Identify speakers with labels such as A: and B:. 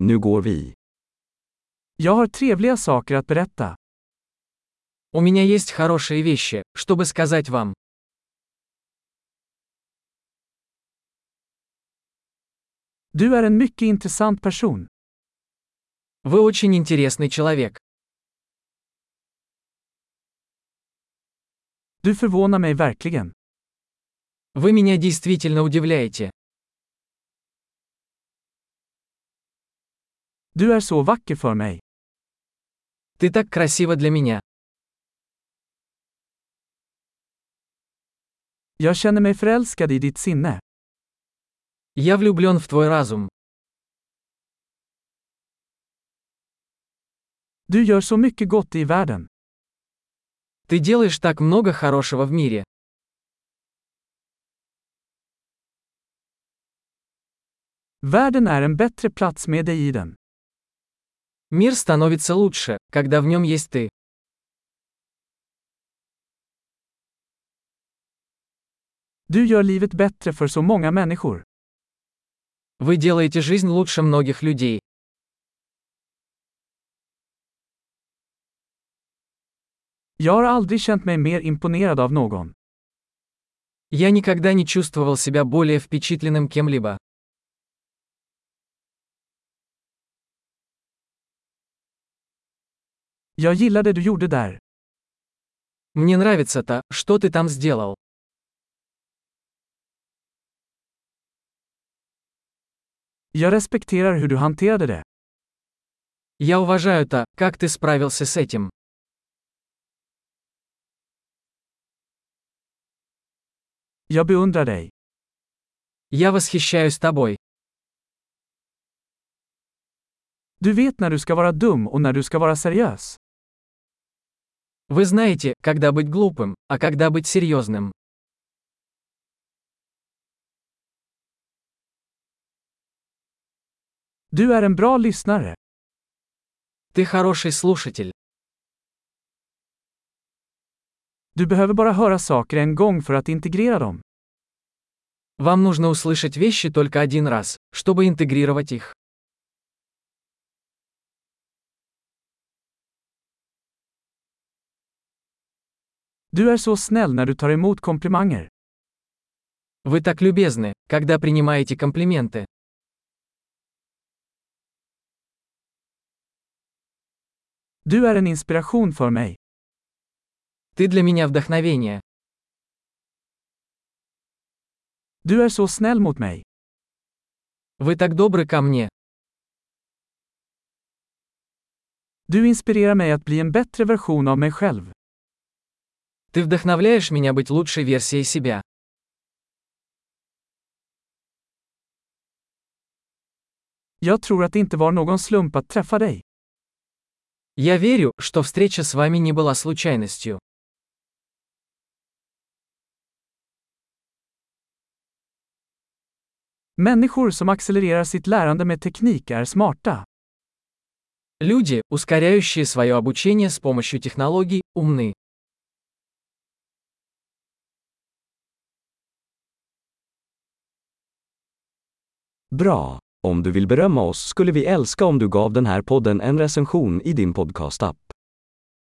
A: Nu går vi.
B: Jag har trevliga saker att berätta.
C: У меня есть хорошие вещи, чтобы сказать вам.
B: Du är en mycket intressant person.
C: Вы очень интересный человек.
B: Du förvånar mig verkligen.
C: Вы меня действительно удивляете.
B: Du är så vacker för mig.
C: Ты так красива для меня.
B: Jag känner mig förälskad i ditt sinne.
C: Я влюблен в твой разум.
B: Du gör så mycket gott i världen.
C: Ты делаешь так много хорошего в мире.
B: Världen är en bättre plats med dig i den.
C: Мир становится лучше, когда в нем есть ты.
B: Du gör livet bättre för så många människor.
C: Вы делаете жизнь лучше многих людей.
B: Jag har aldrig känt mig mer imponerad av någon.
C: Я никогда не чувствовал себя более впечатленным кем-либо.
B: Jag gillar det du gjorde där.
C: Мне нравится то, что ты там сделал.
B: Jag respekterar hur du hanterade det.
C: Я уважаю то, как ты справился с этим.
B: Jag beundrar dig.
C: Я восхищаюсь тобой.
B: Du vet när du ska vara dum och när du ska vara seriös.
C: Вы знаете, когда быть глупым, а когда быть серьезным.
B: Du är en bra lyssnare.
C: Ты хороший слушатель.
B: Du behöver bara höra saker en gång för att integrera dem.
C: Вам нужно услышать вещи только один раз, чтобы интегрировать их.
B: Du är så snäll när du tar emot komplimanger.
C: Вы так любезны, когда принимаете комплименты.
B: Du är en inspiration för mig.
C: Ты для меня вдохновение.
B: Du är så snäll mot mig.
C: Вы так добры ко мне.
B: Du inspirerar mig att bli en bättre version av mig själv.
C: Ты вдохновляешь меня быть лучшей версией себя.
B: Jag tror att det inte var någon slump att träffa dig.
C: Я верю, что встреча с вами не была случайностью.
B: Människor som accelererar sitt lärande med teknik är smarta.
C: Люди, ускоряющие свое обучение с помощью технологий, умны.
A: Bra! Om du vill berömma oss skulle vi älska om du gav den här podden en recension i din podcastapp.